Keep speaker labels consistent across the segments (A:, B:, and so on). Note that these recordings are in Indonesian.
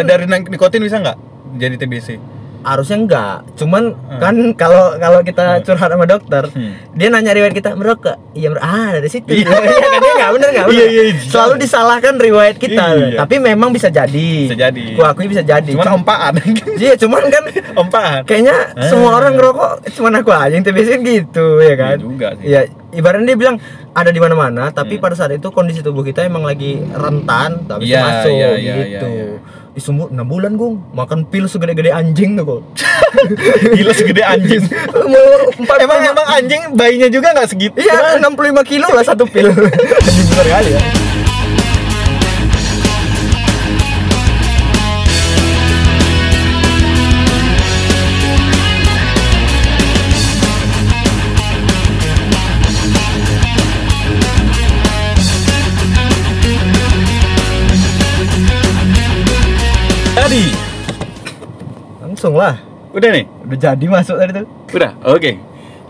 A: Eh, dari nang- nikotin bisa nggak jadi TBC?
B: harusnya enggak cuman
A: Hmm.
B: kan kalau kalau kita curhat sama dokter
A: Hmm.
B: dia nanya riwayat kita merokok iya merokok ah dari situ
A: Iya.
B: iya kan dia nggak bener nggak bener
A: Iya, iya, iya.
B: selalu disalahkan riwayat kita
A: Iya.
B: tapi memang bisa jadi
A: Bisa jadi.
B: gua akui bisa jadi
A: Cuman
B: Cum-
A: ompaan,
B: iya cuman kan
A: ompaan.
B: kayaknya
A: Ah.
B: semua orang ngerokok cuman aku aja yang TBC gitu ya
A: Iya
B: kan
A: juga sih.
B: ya ibaratnya dia bilang ada di mana-mana tapi
A: Hmm.
B: pada saat itu kondisi tubuh kita emang lagi rentan tapi
A: Iya,
B: masuk
A: iya, iya,
B: gitu
A: iya,
B: Ih, sumur 6 bulan gung makan pil segede-gede anjing tuh kok
A: Gila segede anjing.
B: empat
A: emang emang anjing bayinya juga nggak segitu?
B: iya 65 kilo lah satu pil anjing besar kali ya
A: Tadi.
B: langsung lah
A: Udah nih.
B: udah jadi masuk tadi tuh
A: Udah, oke.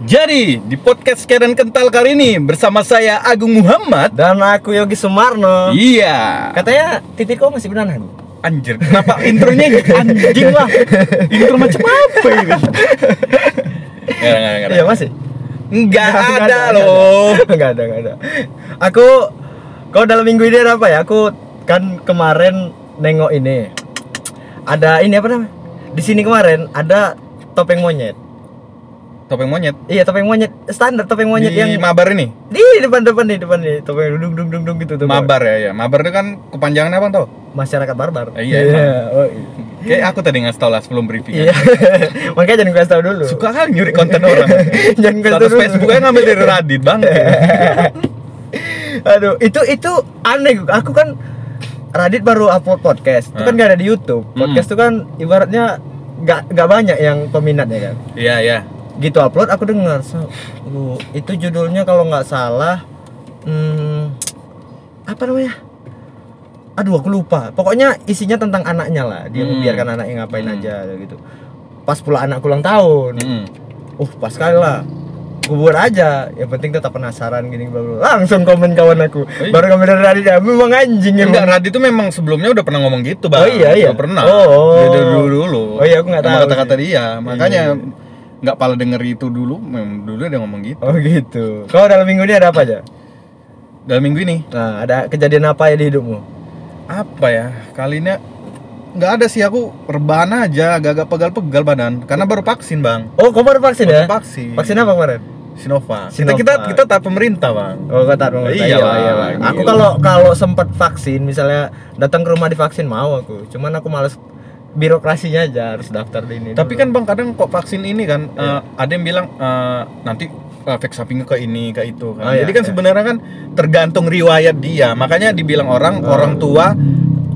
A: Jadi, di podcast Keren Kental kali ini bersama saya Agung Muhammad.
B: dan aku Yogi Sumarno
A: Iya.
B: katanya titik kau masih benar Gung?
A: Anjir, kenapa intronya gitu? anjing lah? Intro macam apa ini? Nggak, nggak, nggak.
B: iya masih
A: Nggak
B: Nggak
A: ada
B: nggak
A: loh.
B: Nggak ada, nggak ada. Aku, kau dalam minggu ini ada apa ya? Aku kan kemarin nengok ini. Ada ini apa namanya? Di sini kemarin ada topeng monyet.
A: Topeng monyet.
B: Iya topeng monyet standar topeng monyet
A: Di
B: yang
A: mabar ini.
B: di depan depan nih depan nih topeng dung dung dung dung gitu tuh.
A: Mabar ya, ya. Mabar itu kan kepanjangannya apa tau?
B: Masyarakat barbar.
A: Eh, iya,
B: oh, iya.
A: Kayak aku tadi ngasih tau lah sebelum briefing.
B: Iya. Makanya jangan kasih tahu dulu.
A: Suka kan nyuri konten orang.
B: jangan kasih tahu
A: Status kan?
B: dulu.
A: Facebooknya ngambil dari Radit bang.
B: Aduh, itu itu aneh. Aku kan Radit baru upload podcast. Itu kan
A: Hmm.
B: gak ada di YouTube. Podcast itu kan ibaratnya gak gak banyak yang peminatnya kan.
A: Iya, iya.
B: Gitu upload aku dengar. So, lu, itu judulnya kalau nggak salah hmm, apa namanya? Aduh, aku lupa. Pokoknya isinya tentang anaknya lah. Dia
A: Hmm.
B: membiarkan anaknya ngapain
A: Hmm.
B: aja gitu. Pas pula anak ulang tahun
A: Mm.
B: uh pas kali lah kubur aja yang penting tetap penasaran gini bla bla bla. langsung komen kawan aku
A: iya.
B: baru komen dari Radit ya memang anjing ya
A: Enggak, Radit tuh memang sebelumnya udah pernah ngomong gitu, Bang.
B: Oh, iya, iya.
A: Udah pernah.
B: Oh, oh.
A: Dia dulu dulu.
B: Oh, iya, aku nggak
A: Emang
B: tahu
A: kata-kata
B: sih.
A: dia. Makanya
B: Iya,
A: nggak pala denger itu dulu, memang dulu dia ngomong gitu.
B: oh gitu kau dalam minggu ini ada apa aja
A: Dalam minggu ini
B: nah ada kejadian apa ya di hidupmu
A: apa ya? Kali ini nggak ada sih aku rebahan aja agak-agak pegal-pegal badan karena baru vaksin, Bang.
B: oh kau baru vaksin
A: Baru
B: ya
A: vaksin.
B: vaksin apa kemarin
A: Sinovac.
B: Sinovac.
A: Kita kita kita taat pemerintah, Bang.
B: oh kau tahu
A: Iya,
B: lah,
A: iya,
B: lah.
A: iya.
B: aku kalau kalau sempat vaksin misalnya datang ke rumah divaksin mau aku cuman aku males birokrasinya aja harus daftar di ini
A: Tapi
B: dulu.
A: kan Bang kadang kok vaksin ini kan
B: Iya.
A: eh, ada yang bilang eh, nanti efek sampingnya ke ini ke itu kan.
B: Oh, iya,
A: Jadi kan
B: iya.
A: sebenarnya kan tergantung riwayat dia. Makanya dibilang orang
B: Oh.
A: orang tua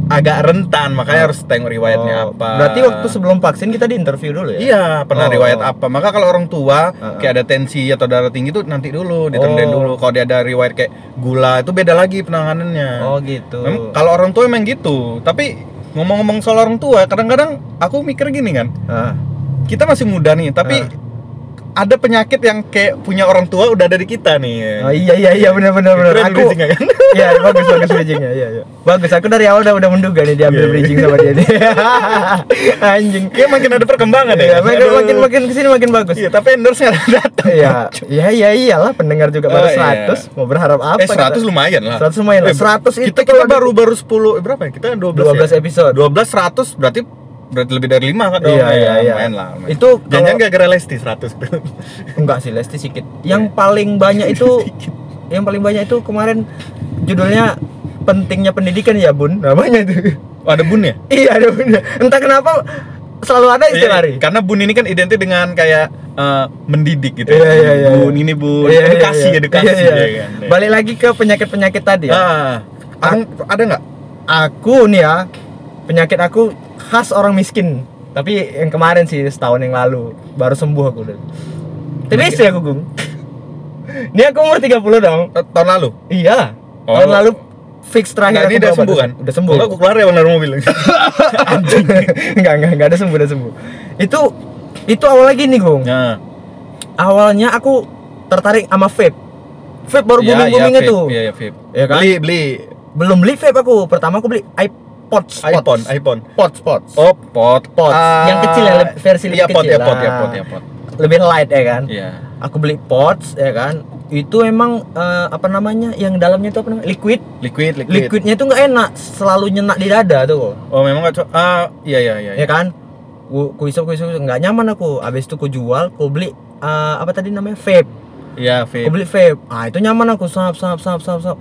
A: agak rentan, makanya harus tengok riwayatnya
B: Oh,
A: apa.
B: berarti waktu sebelum vaksin kita diinterview dulu ya
A: Iya, pernah
B: Oh.
A: riwayat apa. Maka kalau orang tua
B: Heeh.
A: kayak ada tensi atau darah tinggi itu nanti dulu ditendain
B: Oh.
A: dulu. Kalau dia ada riwayat kayak gula itu beda lagi penanganannya.
B: oh gitu
A: Mem- kalau orang tua emang gitu. Tapi ngomong-ngomong soal orang tua, kadang-kadang aku mikir gini kan
B: Ah.
A: kita masih muda nih, tapi
B: Nah.
A: ada penyakit yang kayak punya orang tua udah dari kita nih.
B: Oh iya iya iya benar benar benar.
A: Keren
B: Aku
A: bridging-nya kan?
B: Iya, bagus bagus bridgingnya. Iya iya. Bagus. Aku dari awal udah udah menduga nih
A: Iya,
B: diambil bridging sama dia nih. Anjing.
A: Kayak makin Iya, ada perkembangan ya.
B: Iya, makin
A: Aduh.
B: makin makin kesini makin bagus.
A: Iya, tapi endorse nggak datang.
B: Iya, iya iya iyalah pendengar juga baru
A: Oh, iya.
B: 100. Mau berharap apa?
A: eh 100
B: kita?
A: lumayan lah.
B: 100 lumayan lah.
A: Eh,
B: 100 itu
A: kita
B: kalau
A: kita
B: ada-
A: baru baru 10 eh, berapa ya? Kita 12.
B: 12
A: 12 ya?
B: episode.
A: 12 100 berarti berarti lebih dari 5 kan dong.
B: Iya, iya, iya.
A: Lumayan lah. lumayan.
B: Itu kalau-
A: jangan enggak gara Lesti 100.
B: Enggak sih, Lesti sedikit.
A: Iya.
B: Yang paling banyak itu yang paling banyak itu kemarin judulnya pentingnya pendidikan ya, Bun. Namanya itu.
A: Oh, ada Bun ya?
B: iya, ada Bun. Entah kenapa selalu ada
A: Iya,
B: istilah hari.
A: Karena Bun ini kan identik dengan kayak eh, mendidik gitu.
B: Iya, iya, iya.
A: Bun ini Bun,
B: Iya, iya,
A: edukasi,
B: iya.
A: edukasi
B: Iya, iya.
A: ya kan. Iya.
B: Balik lagi ke penyakit-penyakit tadi. Ya.
A: Ah, Abang ada nggak?
B: Aku nih ya, penyakit aku khas orang miskin. Tapi yang kemarin sih setahun yang lalu baru sembuh aku udah. TBC aku, Gung. Ini aku umur 30 dong.
A: Eh, Tahun lalu?
B: Iya.
A: Oh.
B: Tahun lalu fix
A: Nah, ini
B: terakhir aku
A: udah
B: berobat.
A: sembuh kan?
B: Udah sembuh.
A: Enggak, aku keluar ya bang dari mobil.
B: enggak, enggak, enggak ada sembuh, udah sembuh. Itu itu awal lagi nih, Gung.
A: Nah,
B: Awalnya aku tertarik sama vape. Vape baru
A: ya,
B: booming-boomingnya
A: vape,
B: tuh.
A: Iya, ya, vape.
B: Ya kan?
A: Beli, beli.
B: belum beli vape aku pertama aku beli i pots, pots.
A: iPhone, iPhone.
C: Pots, pots.
A: Oh, pot, Ah.
B: Pots. Yang kecil ya, le- versi lebih
A: iya, pot,
B: kecil.
A: Iya, pot, ya
B: Nah.
A: pot, ya pot.
B: Lebih light ya kan?
A: Iya.
B: Aku beli pots ya kan? Itu emang eh, apa namanya? Yang dalamnya itu apa namanya? Liquid.
A: Liquid, liquid.
B: Liquidnya itu nggak enak, selalu nyenak di dada tuh. kok.
A: Oh, memang enggak ah iya iya iya.
B: Ya kan? Ku ku isap ku isap ku isap. nggak nyaman aku. Habis itu ku jual, ku beli eh, apa tadi namanya? vape.
A: Iya,
B: Aku
A: vape.
B: beli vape. Ah, itu nyaman aku sap sap sap sap sap.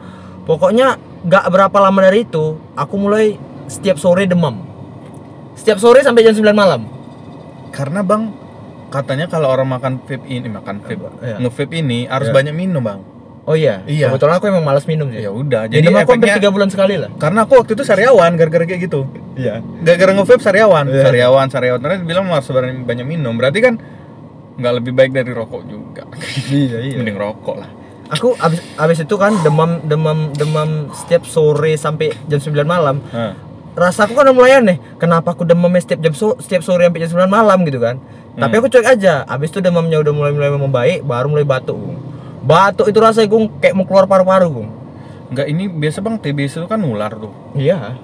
B: Pokoknya gak berapa lama dari itu, aku mulai setiap sore demam. Setiap sore sampai jam 9 malam.
A: Karena Bang katanya kalau orang makan vape ini makan vape
B: Iya.
A: nge-vape ini harus
B: Iya.
A: banyak minum, Bang.
B: Oh iya.
A: Iya.
B: Kebetulan aku emang malas minum sih.
A: Ya udah,
B: Jadi
A: jadi
B: minum aku hampir
A: efeknya
B: 3 bulan sekali lah.
A: karena aku waktu itu sariawan gara-gara kayak gitu.
B: Iya.
A: Gara-gara nge-vape sariawan,
B: Iya.
A: sariawan, sariawan. Terus bilang harus berani- banyak minum. Berarti kan nggak lebih baik dari rokok juga.
B: iya,
A: Mending rokok lah.
B: Aku abis, abis itu kan demam demam demam setiap sore sampai jam 9 malam.
A: Hah.
B: Rasa aku kan udah mulai aneh, kenapa aku demamnya setiap jam so- setiap sore sampai jam 9 malam gitu kan. Tapi
A: Hmm.
B: aku cuek aja. Abis itu demamnya udah mulai-mulai membaik, baru mulai batuk. Gung. Batuk itu rasanya gue kayak mau keluar paru-paru, Gung.
A: Enggak ini biasa Bang TBC itu kan nular tuh.
B: Iya.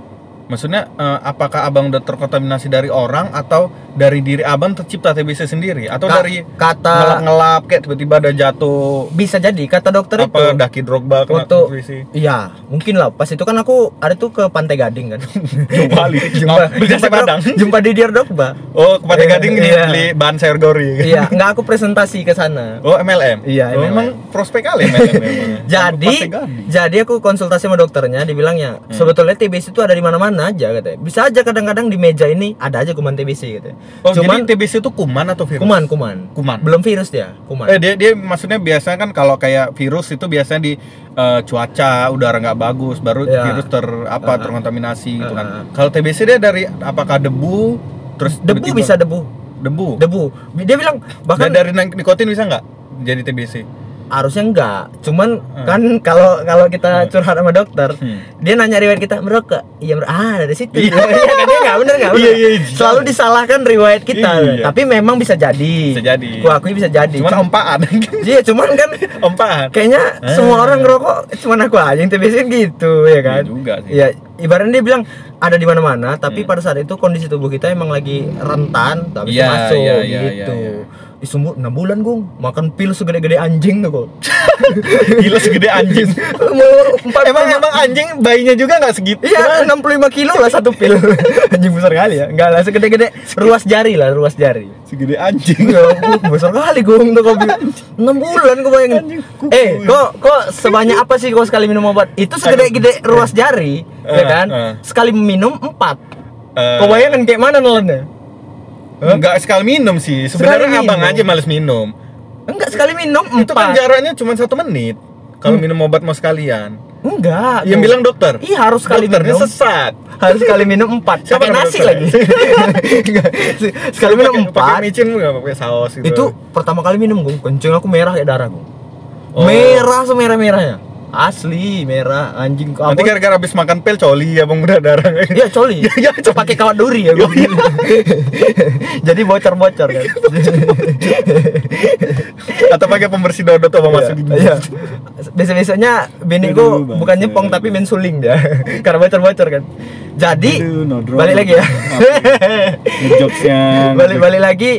A: Maksudnya eh, apakah abang udah terkontaminasi dari orang atau dari diri abang tercipta TBC sendiri atau
B: Ka-
A: dari
B: kata
A: ngelap-ngelap kayak tiba-tiba ada jatuh
B: bisa jadi kata dokter itu.
A: apa daki drogba kena
B: Waktu-
A: TBC?
B: Iya, mungkin lah. Pas itu kan aku ada tuh ke Pantai Gading kan.
A: Jumpa li.
B: jumpa,
A: Beli nasi
B: jumpa,
A: padang.
B: jumpa di Dear Dokba.
A: Oh, ke Pantai
B: Iya,
A: Gading ini
B: iya.
A: beli bahan sayur gori.
B: iya, nggak aku presentasi ke sana.
A: Oh, MLM.
B: Iya,
A: Oh,
B: MLM.
A: emang prospek kali MLM. emang. Pantai
B: Jadi,
A: Gading.
B: jadi aku konsultasi sama dokternya, dibilangnya
A: Hmm.
B: sebetulnya TBC itu ada di mana-mana aja katanya. Bisa aja kadang-kadang di meja ini ada aja kuman TBC katanya.
A: Oh,
B: Cuman
A: jadi TBC itu kuman atau virus?
B: kuman, kuman,
A: Kuman.
B: Belum virus dia, kuman.
A: Eh dia dia maksudnya biasanya kan kalau kayak virus itu biasanya di eh, cuaca udara nggak bagus baru
B: Ya.
A: virus ter apa
B: Ah.
A: terkontaminasi gitu kan.
B: Ah.
A: Kalau TBC dia dari apakah debu terus
B: debu
A: tiba-tiba-
B: bisa kan- debu,
A: debu.
B: debu. Dia bilang
A: Dan
B: bahkan
A: dari nan- nikotin bisa nggak jadi TBC?
B: harusnya enggak. Cuman
A: Hmm.
B: kan kalau kalau kita curhat sama dokter,
A: Hmm.
B: dia nanya riwayat kita merokok iya merokok ah dari situ iya kan dia nggak bener nggak bener
A: Iya, iya, iya.
B: selalu disalahkan riwayat kita
A: Iya.
B: tapi memang bisa jadi
A: Bisa jadi.
B: gua akui bisa jadi
A: Cuman
B: Cuma-
A: ompaan.
B: iya cuman kan
A: ompaan.
B: kayaknya
A: Ah.
B: semua orang ngerokok cuman aku aja yang tebesin gitu ya
A: Iya
B: kan
A: juga sih.
B: Iya, ibaratnya dia bilang ada di mana-mana, tapi
A: Hmm.
B: pada saat itu kondisi tubuh kita emang lagi rentan, tapi
A: Iya,
B: masuk
A: iya, iya,
B: gitu.
A: iya,
B: Ih, sumbu 6 bulan, Gung. Makan pil segede-gede anjing tuh, kok.
A: Gila segede anjing.
B: Mau empat
A: emang emang anjing bayinya juga nggak segitu.
B: Iya, 65 kilo lah satu pil. Anjing besar kali ya. Enggak lah, segede-gede
A: Iya.
B: ruas jari lah, ruas jari.
A: Segede anjing.
B: Ya, ampun, besar kali gong tuh kau bilang. 6 bulan kau bayangin.
A: Anjing, kuku.
B: Eh, kok kok sebanyak apa sih kau sekali minum obat? Itu segede-gede ruas jari,
A: Eh,
B: ya kan?
A: eh.
B: Sekali minum 4.
A: Eh,
B: Kau bayangin kayak mana nelannya?
A: nggak sekali minum sih. Sebenarnya
B: Sekali
A: abang
B: minum.
A: aja males minum.
B: Enggak sekali minum 4.
A: Itu kan jaraknya cuma satu menit. Kalau minum obat mau sekalian.
B: Enggak.
A: Yang
B: Gung.
A: bilang dokter.
B: Hmm. Iya, harus sekali
A: Dokternya
B: minum.
A: sesat.
B: harus sekali minum 4.
A: Siapa
B: Pakai
A: nama
B: nasi
A: dokter?
B: lagi. Enggak, se- sekali minum
A: Pakai- Pakai
B: 4.
A: micin nggak pakai saus gitu.
B: Itu pertama kali minum gue, kencing aku merah kayak darah gue.
A: Oh.
B: Merah semerah-merahnya. Asli merah anjing kok.
A: Nanti gara-gara habis makan pil coli abang udah darah.
B: Iya coli.
A: Ya, ya, coli. Iya,
B: pakai kawat duri ya gue. Jadi bocor-bocor
A: Iya,
B: kan.
A: Atau pakai pembersih dodot abang
B: Iya,
A: masukin.
B: Iya. Biasa-biasanya bini gue
A: gitu. Aduh,
B: bukan
A: bangsa.
B: nyepong tapi mensuling dia. Karena bocor-bocor kan. Jadi
A: Aduh, nodrol.
B: balik lagi ya.
A: Jokesnya.
B: balik-balik lagi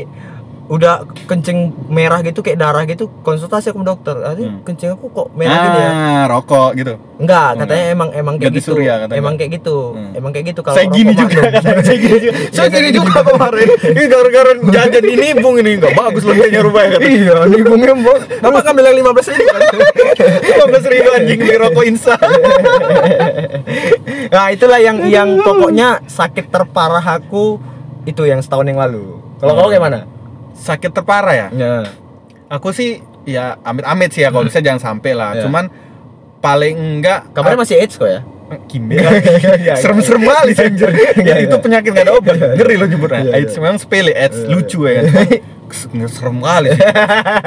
B: udah kencing merah gitu kayak darah gitu konsultasi aku ke dokter. Tadi
A: Hmm.
B: kencing aku kok merah gini ya.
A: rokok gitu.
B: Enggak,
A: Oh,
B: katanya emang emang kayak
A: Ganti
B: gitu.
A: surya katanya.
B: Emang kayak gitu.
A: Hmm.
B: Emang kayak gitu kalau
A: Saya
B: rokok
A: gini juga
B: magnum.
A: katanya. Saya gini juga. Saya gini juga
B: gitu.
A: kemarin. Ini gara-gara jajan ini bung ini nggak bagus lebihnya rupanya kata.
B: iya, nih gue ngembok. Apa ngambil yang 15 ribu?
A: 15
B: Iya.
A: ribu anjing beli rokok insa.
B: nah, itulah yang yang pokoknya sakit terparah aku itu yang setahun yang lalu. Kalau kau
A: Hmm.
B: gimana?
A: Sakit terparah ya?
B: Ya.
A: Aku sih ya amit-amit sih ya kalau bisa jangan sampai lah.
B: Hmm. Iya.
A: Cuman paling enggak
B: Kabarnya masih AIDS kok ya?
A: Kimbe Serem-serem kali sih anjir. Ya,
B: Iya,
A: Itu
B: iya.
A: penyakit gak ada obat.
B: Iya, iya.
A: Ngeri lo nyebutnya.
B: Iya, iya.
A: AIDS memang sepele, AIDS
B: Iya, iya.
A: lucu ya kan. Cuman, Serem kali sih.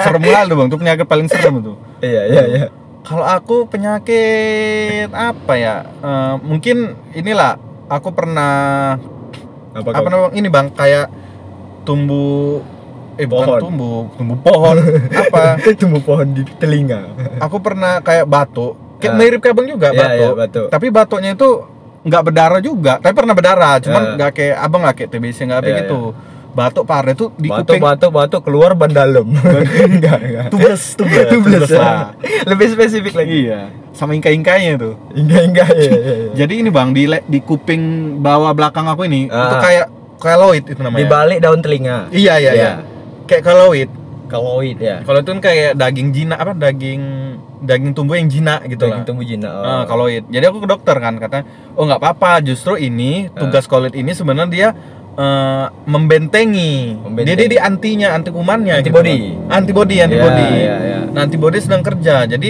A: Serem kali tuh, Bang. Itu penyakit paling serem tuh.
B: Iya, iya, iya.
A: Kalau aku penyakit apa ya? Eh, mungkin inilah aku pernah
B: Apa
A: apa namanya ini bang kayak tumbuh eh
B: Pohon.
A: bukan tumbuh tumbuh pohon apa
B: Tumbuh pohon di telinga.
A: aku pernah kayak batuk kayak
B: Ah.
A: mirip kayak bang juga
B: Iya, iya,
A: batuk
B: batuk.
A: tapi batuknya itu nggak berdarah juga tapi pernah berdarah cuman
B: Ya.
A: nggak kayak abang nggak kayak TBC nggak kayak
B: Ya,
A: gitu batuk parah itu di
B: batuk
A: kuping
B: batuk batuk keluar ban dalam enggak enggak
A: tubles tubles tubles lah.
B: lebih spesifik lagi
A: iya Nah, sama ingka ingkanya itu
B: enggak enggak ya, ya, ya.
A: jadi ini bang di le- di kuping bawah belakang aku ini itu
B: Ah.
A: kayak keloid itu namanya
B: di balik daun telinga
A: iya iya iya
B: Iya.
A: kayak keloid
B: kaloid ya
A: kalau itu kan kayak daging jinak apa daging daging tumbuh yang jinak gitu lah
B: daging tumbuh jinak oh.
A: Ah, koloid. Jadi aku ke dokter kan katanya, oh nggak apa-apa, justru
B: Eh.
A: ini tugas koloid ini sebenarnya dia eh, membentengi.
B: Membentengi.
A: Jadi dia antinya, anti kumannya. gitu
B: Antibody.
A: kan. antibody, antibody.
B: Ya, ya, ya.
A: Nah, antibody sedang kerja. Jadi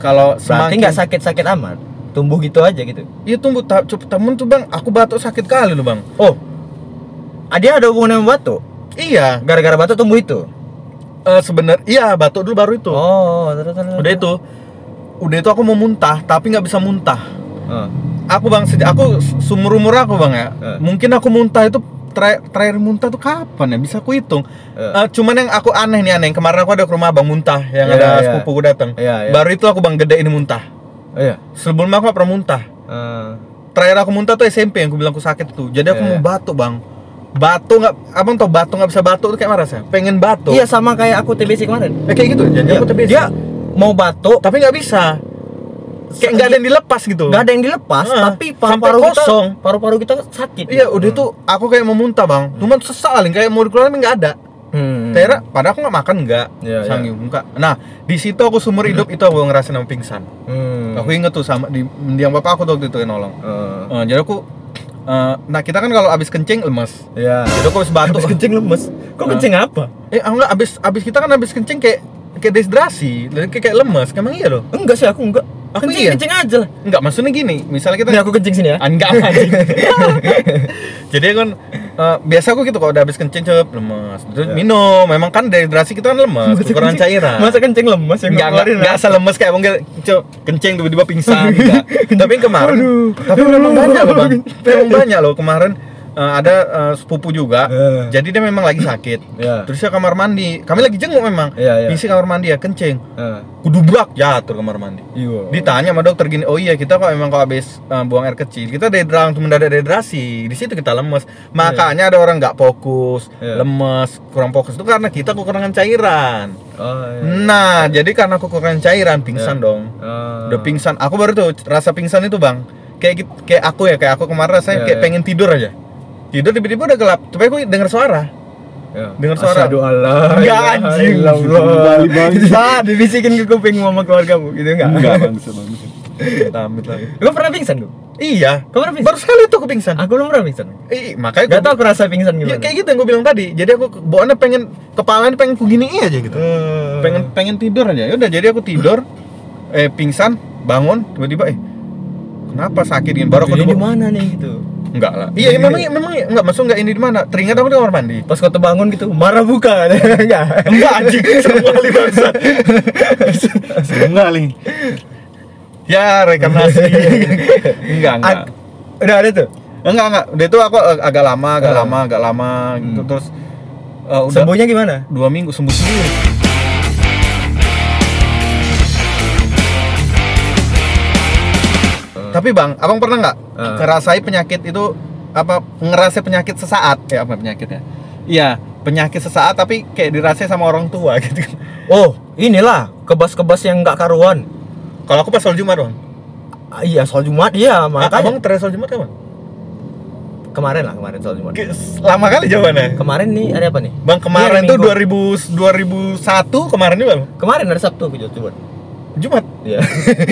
A: kalau
B: berarti
A: semakin
B: nggak sakit sakit amat tumbuh gitu aja gitu
A: Iya tunggu ta- cup- temen tuh bang, aku batuk sakit kali loh bang.
B: oh ah, dia ada hubungan sama batuk
A: Iya,
B: gara-gara batuk tumbuh itu
A: eh, sebenar iya batuk dulu baru itu.
B: oh terus terus
A: Udah itu, udah itu aku mau muntah tapi nggak bisa muntah.
B: Ah,
A: Aku bang sejak aku sumur umur aku bang ya,
B: Eh.
A: mungkin aku muntah itu terakhir, terakhir muntah tuh kapan ya? Bisa aku hitung.
B: Eh.
A: Eh, cuman yang aku aneh nih aneh, yang kemarin aku ada ke rumah abang muntah yang
B: Iya,
A: ada
B: iya.
A: sepupuku datang.
B: iya iya
A: Baru itu aku bang gedein muntah.
B: oh, iya
A: Sebelumnya aku gak pernah muntah.
B: Ah,
A: Terakhir aku muntah tuh SMP yang aku bilang aku sakit tuh. Jadi aku
B: Iya,
A: mau
B: iya.
A: batuk bang. Batuk nggak, abang tau batuk nggak bisa batuk tuh kayak marah saya. Pengen batuk.
B: iya sama kayak aku TBC kemarin
A: Eh, kayak gitu. Jadi
B: Iya.
A: aku tapi
B: dia mau batuk
A: tapi nggak bisa. Kayak nggak ada yang dilepas gitu.
B: nggak ada yang dilepas
A: Ah,
B: tapi paru-paru
A: sampai
B: kita
A: kosong.
B: paru-paru kita sakit
A: Iya udah itu aku kayak mau muntah bang. Cuman sesak paling kayak mau dikeluarin tapi nggak ada.
B: hmm.
A: Tera, padahal aku nggak makan nggak,
B: Iya, iya.
A: sanggih muka. Nah, di situ aku sumur hidup itu aku ngerasain sama pingsan.
B: Hmm.
A: Aku inget tuh sama di mendiang bapak aku tuh waktu itu yang nolong.
B: Eh,
A: Eh, jadi aku, eh, nah kita kan kalau abis kencing lemes.
B: iya
A: Jadi aku abis batuk.
B: Habis kencing lemes. Kok
A: Ah.
B: kencing apa?
A: eh, ah, enggak abis abis kita kan abis kencing kayak kayak dehidrasi, jadi kayak, kayak lemes. Emang iya loh.
B: Enggak sih aku enggak.
A: Aku
B: kencing
A: iya.
B: kencing aja lah.
A: Enggak maksudnya gini, misalnya kita
B: Nih aku kencing sini ya.
A: Ah, enggak anjing. jadi kan eh, biasa aku gitu kalau udah habis kencing cep lemes. Terus
B: Iya.
A: minum, memang kan dehidrasi kita kan lemes,
B: Masa
A: kekurangan
B: kencing-
A: cairan.
B: Masa kencing lemes yang
A: nggak nggak
B: ngeluarin
A: nggak
B: lah.
A: asal lemes kayak mungkin cok, kencing tiba-tiba pingsan nggak. tapi yang kemarin
B: Aduh.
A: tapi memang banyak loh bang memang banyak loh kemarin eh, ada eh, sepupu juga
B: Eh.
A: jadi dia memang lagi sakit
B: Iya.
A: terus dia kamar mandi kami lagi jenguk memang
B: Iya, iya.
A: isi kamar mandi ya kencing
B: Ah,
A: kudubrak jatuh kamar mandi
B: Iya.
A: ditanya sama dokter gini oh iya kita kok memang kalau habis eh, buang air kecil kita dehidrasi langsung mendadak dehidrasi di situ kita lemes makanya ada orang nggak fokus
B: Iya.
A: lemes kurang fokus itu karena kita kekurangan cairan
B: Oh, iya.
A: nah jadi karena aku kekurangan cairan pingsan dong
B: Ah.
A: udah pingsan aku baru tuh rasa pingsan itu bang kayak git- kayak aku ya kayak aku kemarin rasanya
B: Iya,
A: kayak
B: iya.
A: pengen tidur aja tidur tiba-tiba udah gelap tapi aku dengar suara
B: Iya. ya
A: dengar suara.
B: Asyhadu alla
A: Enggak,
B: ilaha
A: anjing.
B: illallah.
A: Kembali, bangsat.
B: Dibisikin ke kuping mama keluargamu gitu enggak?
A: bangsa bangsa Amit, amit. Ah.
B: Lu pernah pingsan lu?
A: iya
B: Kau pernah pingsan?
A: baru sekali tuh aku pingsan
B: Aku belum pernah pingsan.
A: Ih, makanya
B: Gak
A: gua-
B: tau aku rasa pingsan
A: Ya,
B: gimana.
A: kayak gitu yang gue bilang tadi jadi aku ke- bawaannya pengen kepalanya pengen ku giniin aja gitu
B: Eh.
A: pengen pengen tidur aja ya udah jadi aku tidur eh pingsan bangun tiba-tiba eh kenapa sakit gini baru aku
B: Ini di
A: duduk
B: mana nih gitu?
A: enggak lah iya memang memang enggak masuk enggak ini di mana teringat aku di kamar mandi
B: Pas kau terbangun gitu, marah buka enggak?
A: Enggak anjing, serem kali bangsa. serem kali. Ya rekarnasi. enggak, enggak.
B: Ak- udah ada tuh.
A: enggak, enggak. Dia itu aku ag- agak lama, agak
B: Ah.
A: lama, agak lama gitu terus eh, udah
B: Sembuhnya gimana?
A: dua minggu sembuh sendiri. Tapi Bang, Abang pernah nggak
B: Ah.
A: ngerasai penyakit itu apa ngerasai penyakit sesaat ya apa penyakitnya? Iya, penyakit sesaat tapi kayak dirasai sama orang tua gitu.
B: Oh, inilah kebas-kebas yang nggak karuan.
A: Kalau aku pas sholat Jumat, Bang.
B: Ah, iya, soal Jumat iya,
A: Eh, Abang
B: makanya
A: terakhir sholat Jumat kapan?
B: kemarin lah kemarin soal Jumat.
A: Ke- Lama kali jawabannya.
B: Kemarin nih ada apa nih?
A: Bang kemarin
B: Iya,
A: tuh
B: minggu.
A: 2000 2001 kemarin nih Bang.
B: Kemarin hari Sabtu aku jatuh Jumat.
A: Jumat.
B: Iya.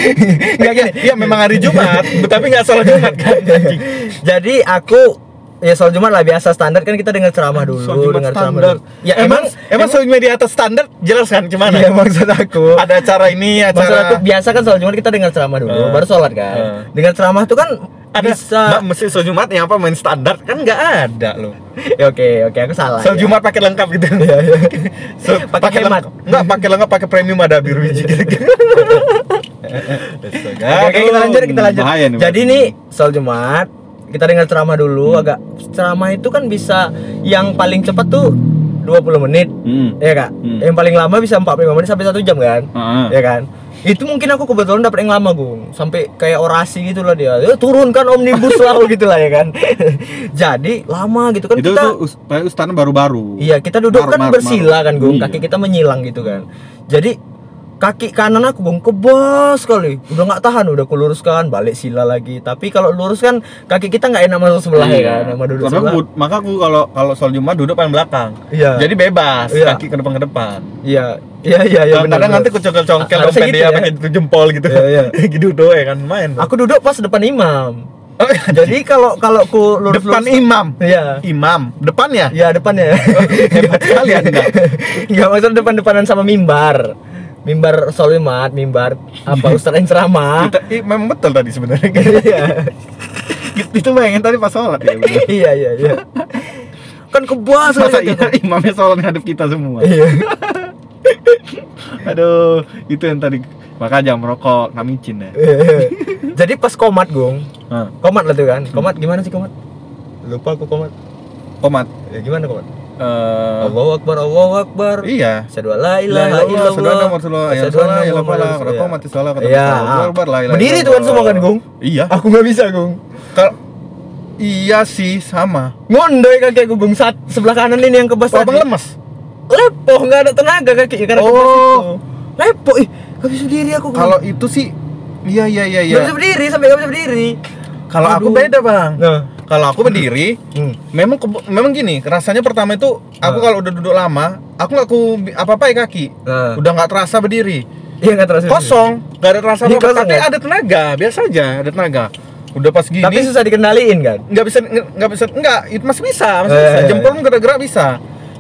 A: Enggak gini. Iya memang hari Jumat, tapi nggak sholat Jumat kan. anjing.
B: Jadi aku ya soal Jumat lah biasa standar kan kita dengar ceramah dulu,
A: Sholat Jumat
B: dengar ceramah
A: standar.
B: dulu.
A: Ya emang emang sholat Jumat di atas standar jelas kan gimana?
B: Iya maksud aku.
A: Ada acara ini,
B: ya, Maksud
A: acara
B: aku biasa kan soal Jumat kita dengar ceramah dulu,
A: Eh.
B: baru sholat kan.
A: Eh.
B: Dengar ceramah tuh kan
A: ada
B: bisa
A: Mbak, mesti sholat Jumat yang apa main standar kan nggak ada loh.
B: Ya, oke, oke aku salah.
A: Sholat
B: ya.
A: Jumat pakai lengkap gitu.
B: Iya, iya.
A: So,
B: Pakai hemat. Iya.
A: lengkap. Nggak pakai lengkap, pakai premium ada biru biji gitu.
B: Oke, oke, kita lanjut, kita lanjut. Jadi nih soal Jumat kita dengar ceramah dulu agak ceramah itu kan bisa yang paling cepat tuh 20 menit.
A: Hmm.
B: Ya Kak.
A: Hmm.
B: Yang paling lama bisa 45 menit sampai 1 jam kan?
A: Ah.
B: Ya kan? itu mungkin aku kebetulan dapet yang lama gue sampai kayak orasi gitu lah dia "Ya, turunkan omnibus law gitu lah ya kan jadi lama gitu kan
C: itu
B: kita
C: tuh us- kayak ustadz baru-baru
B: Iya, kita duduk
C: Mar-
B: kan
C: mar-
B: bersila
C: mar.
B: kan, Gung.
C: Iya.
B: Kaki kita menyilang gitu kan. Jadi kaki kanan aku Gung kebas sekali. Udah nggak tahan, udah aku luruskan, balik sila lagi. Tapi kalau lurus kan kaki kita nggak enak masuk sebelah
A: Iya.
B: ya kan, sama duduk
C: Tapi
B: sebelah.
C: Iya. aku- maka aku kalau kalau sholat Jumat duduk paling belakang.
B: Iya.
A: Jadi bebas,
B: Iya.
A: kaki ke depan ke depan.
B: iya, iya iya iya benar.
A: kadang
B: benar.
A: nanti kucongkel-congkel
B: Harusnya
A: dompet
B: gitu
A: dia
B: ya.
A: pakai itu jempol gitu.
B: Iya, iya.
A: gitu doang ya kan main.
B: aku duduk pas depan imam.
A: Oh, iya.
B: Jadi kalau kalau aku lurus
A: depan
B: lurus,
A: imam.
B: Iya.
A: Imam, depannya.
B: Iya, depannya.
A: Hebat sekali Anda.
B: Enggak maksud depan-depanan sama mimbar. Mimbar solimat, mimbar apa ustaz yang ceramah.
A: Kita- i- memang betul tadi sebenarnya.
B: Iya.
C: itu bayangin tadi pas sholat ya. bener.
B: iya iya iya kan kebas
C: Masa
B: kali
C: iya,
B: kata.
C: imamnya sholat ngadep kita semua.
B: iya
C: Aduh, itu yang tadi maka jangan merokok, nggak micin ya.
B: iya. jadi pas komat gong
C: Nah,
B: komat lah tuh kan komat gimana sih komat lupa aku komat
A: Komat.
B: ya, gimana komat
A: Oh, Eh,
B: Allahu Akbar Allahu Akbar
A: iya.
B: Asyhadu an
A: La
B: la ilaha illallah
A: Saudara nomor solo ya
B: Asyhadu
A: salah
B: anna
A: ya lupa lah
B: Muhammadan
A: rokok
B: Rasulullah.
A: mati salah kata
B: Iya.
A: Akbar lah ya,
B: Berdiri tuh kan semua kan, Gung?
A: Iya.
B: aku nggak bisa gong
A: Kalau iya sih sama.
B: ngondoy kaki aku gong Sat- sebelah kanan ini yang kebas
A: Oh,
B: tadi
A: Abang lemes.
B: lepoh nggak ada tenaga kaki karena kebas
A: Oh.
B: itu lepoh ih nggak bisa berdiri aku Gong.
A: Kalau itu sih iya iya iya iya.
B: nggak bisa berdiri sampai nggak bisa berdiri
A: Kalau aku
B: Aduh.
A: beda, Bang.
B: nah
A: Kalau aku berdiri,
B: hmm.
A: memang kebo- memang gini, rasanya pertama itu aku
B: Ah.
A: kalau udah duduk lama, aku nggak ku apa-apa kaki.
B: nah
A: Udah nggak terasa berdiri.
B: iya nggak terasa berdiri.
A: Kosong, nggak ada terasa
B: Iya,
A: apa-apa,
B: kosong
A: tapi
B: ya?
A: ada tenaga, biasa aja, ada tenaga. Udah pas gini
B: tapi susah dikendaliin kan
A: nggak bisa nggak bisa nggak itu masih bisa masih
B: Eh,
A: bisa
B: eh, eh.
A: jempol gerak-gerak bisa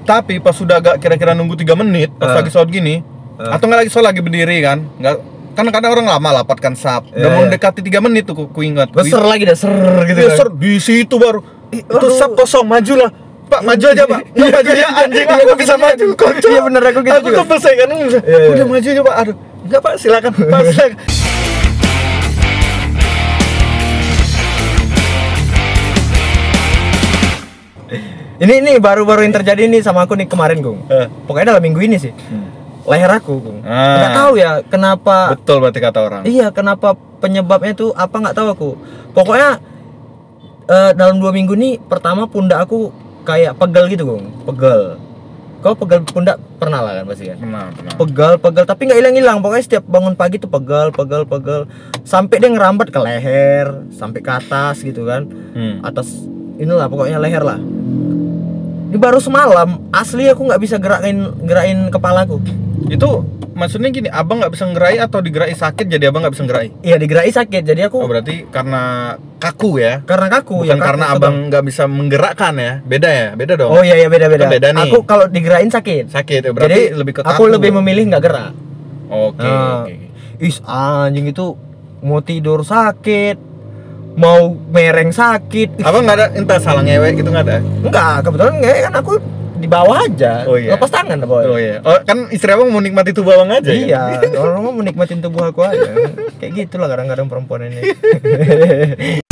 A: tapi pas sudah agak kira-kira nunggu tiga menit pas
B: Eh.
A: lagi sholat gini
B: Eh.
A: atau nggak lagi sholat lagi berdiri kan nggak kan kadang orang lama lapatkan sap udah
B: Iya,
A: mau
B: iya.
A: mendekati tiga menit tuh ku, ku ingat
B: Gua ser lagi dah ser gitu.
A: Iya,
B: kan.
A: ser, di situ baru
B: Ih,
A: itu
B: waduh.
A: sap kosong majulah pak maju aja pak Nggak maju ya anjing
B: Iya,
A: aku
B: gua
A: nggak bisa
B: gitu
A: maju
B: juga.
A: kocok
B: Iya, bener, aku gitu
A: aku
B: juga.
A: tuh saya kan udah
B: Iya, iya.
A: maju aja pak aduh nggak pak silakan pak silakan
B: Ini ini baru-baru yang terjadi nih sama aku nih kemarin, Gung.
A: Eh.
B: Pokoknya dalam minggu ini sih. Leher aku, Gung.
A: Ah.
B: Nggak tahu ya kenapa
A: betul berarti kata orang
B: Iya, kenapa penyebabnya tuh apa nggak tahu aku. Pokoknya eh, dalam dua minggu nih pertama pundak aku kayak pegel gitu, Gung. Pegel. Kau pegel pundak pernah lah kan pasti kan?
A: benar benar
B: pegal pegal tapi nggak hilang hilang pokoknya setiap bangun pagi tuh pegal pegal pegal sampai dia ngerambat ke leher sampai ke atas gitu kan
A: Hmm.
B: atas inilah pokoknya leher lah ini baru semalam asli aku nggak bisa gerakin gerakin kepalaku
A: itu maksudnya gini abang nggak bisa ngerai atau digerai sakit jadi abang nggak bisa ngerai
B: iya digerai sakit
A: oh,
B: jadi aku
A: berarti karena kaku ya
B: karena kaku
A: bukan
B: kaku
A: karena
B: aku
A: abang nggak bisa menggerakkan ya beda ya beda
B: tahu.
A: dong
B: oh iya iya beda beda,
A: Kan beda nih.
B: aku kalau digerakin sakit
A: sakit ya berarti
B: jadi
A: lebih Ah. ke kaku
B: aku lebih memilih nggak gerak
A: oke
B: Nah.
A: oke
B: is anjing itu mau tidur sakit mau mereng sakit
A: abang nggak ada entah salah ngewek gitu nggak ada
B: Enggak, kebetulan enggak kan aku di bawah aja.
A: Oh, iya.
B: Lepas tangan boy.
A: oh iya oh, kan istri abang mau nikmati tubuh abang aja ya?
B: gitu Iya, orang mau menikmatin tubuh aku aja. Kayak gitulah kadang-kadang perempuan ini.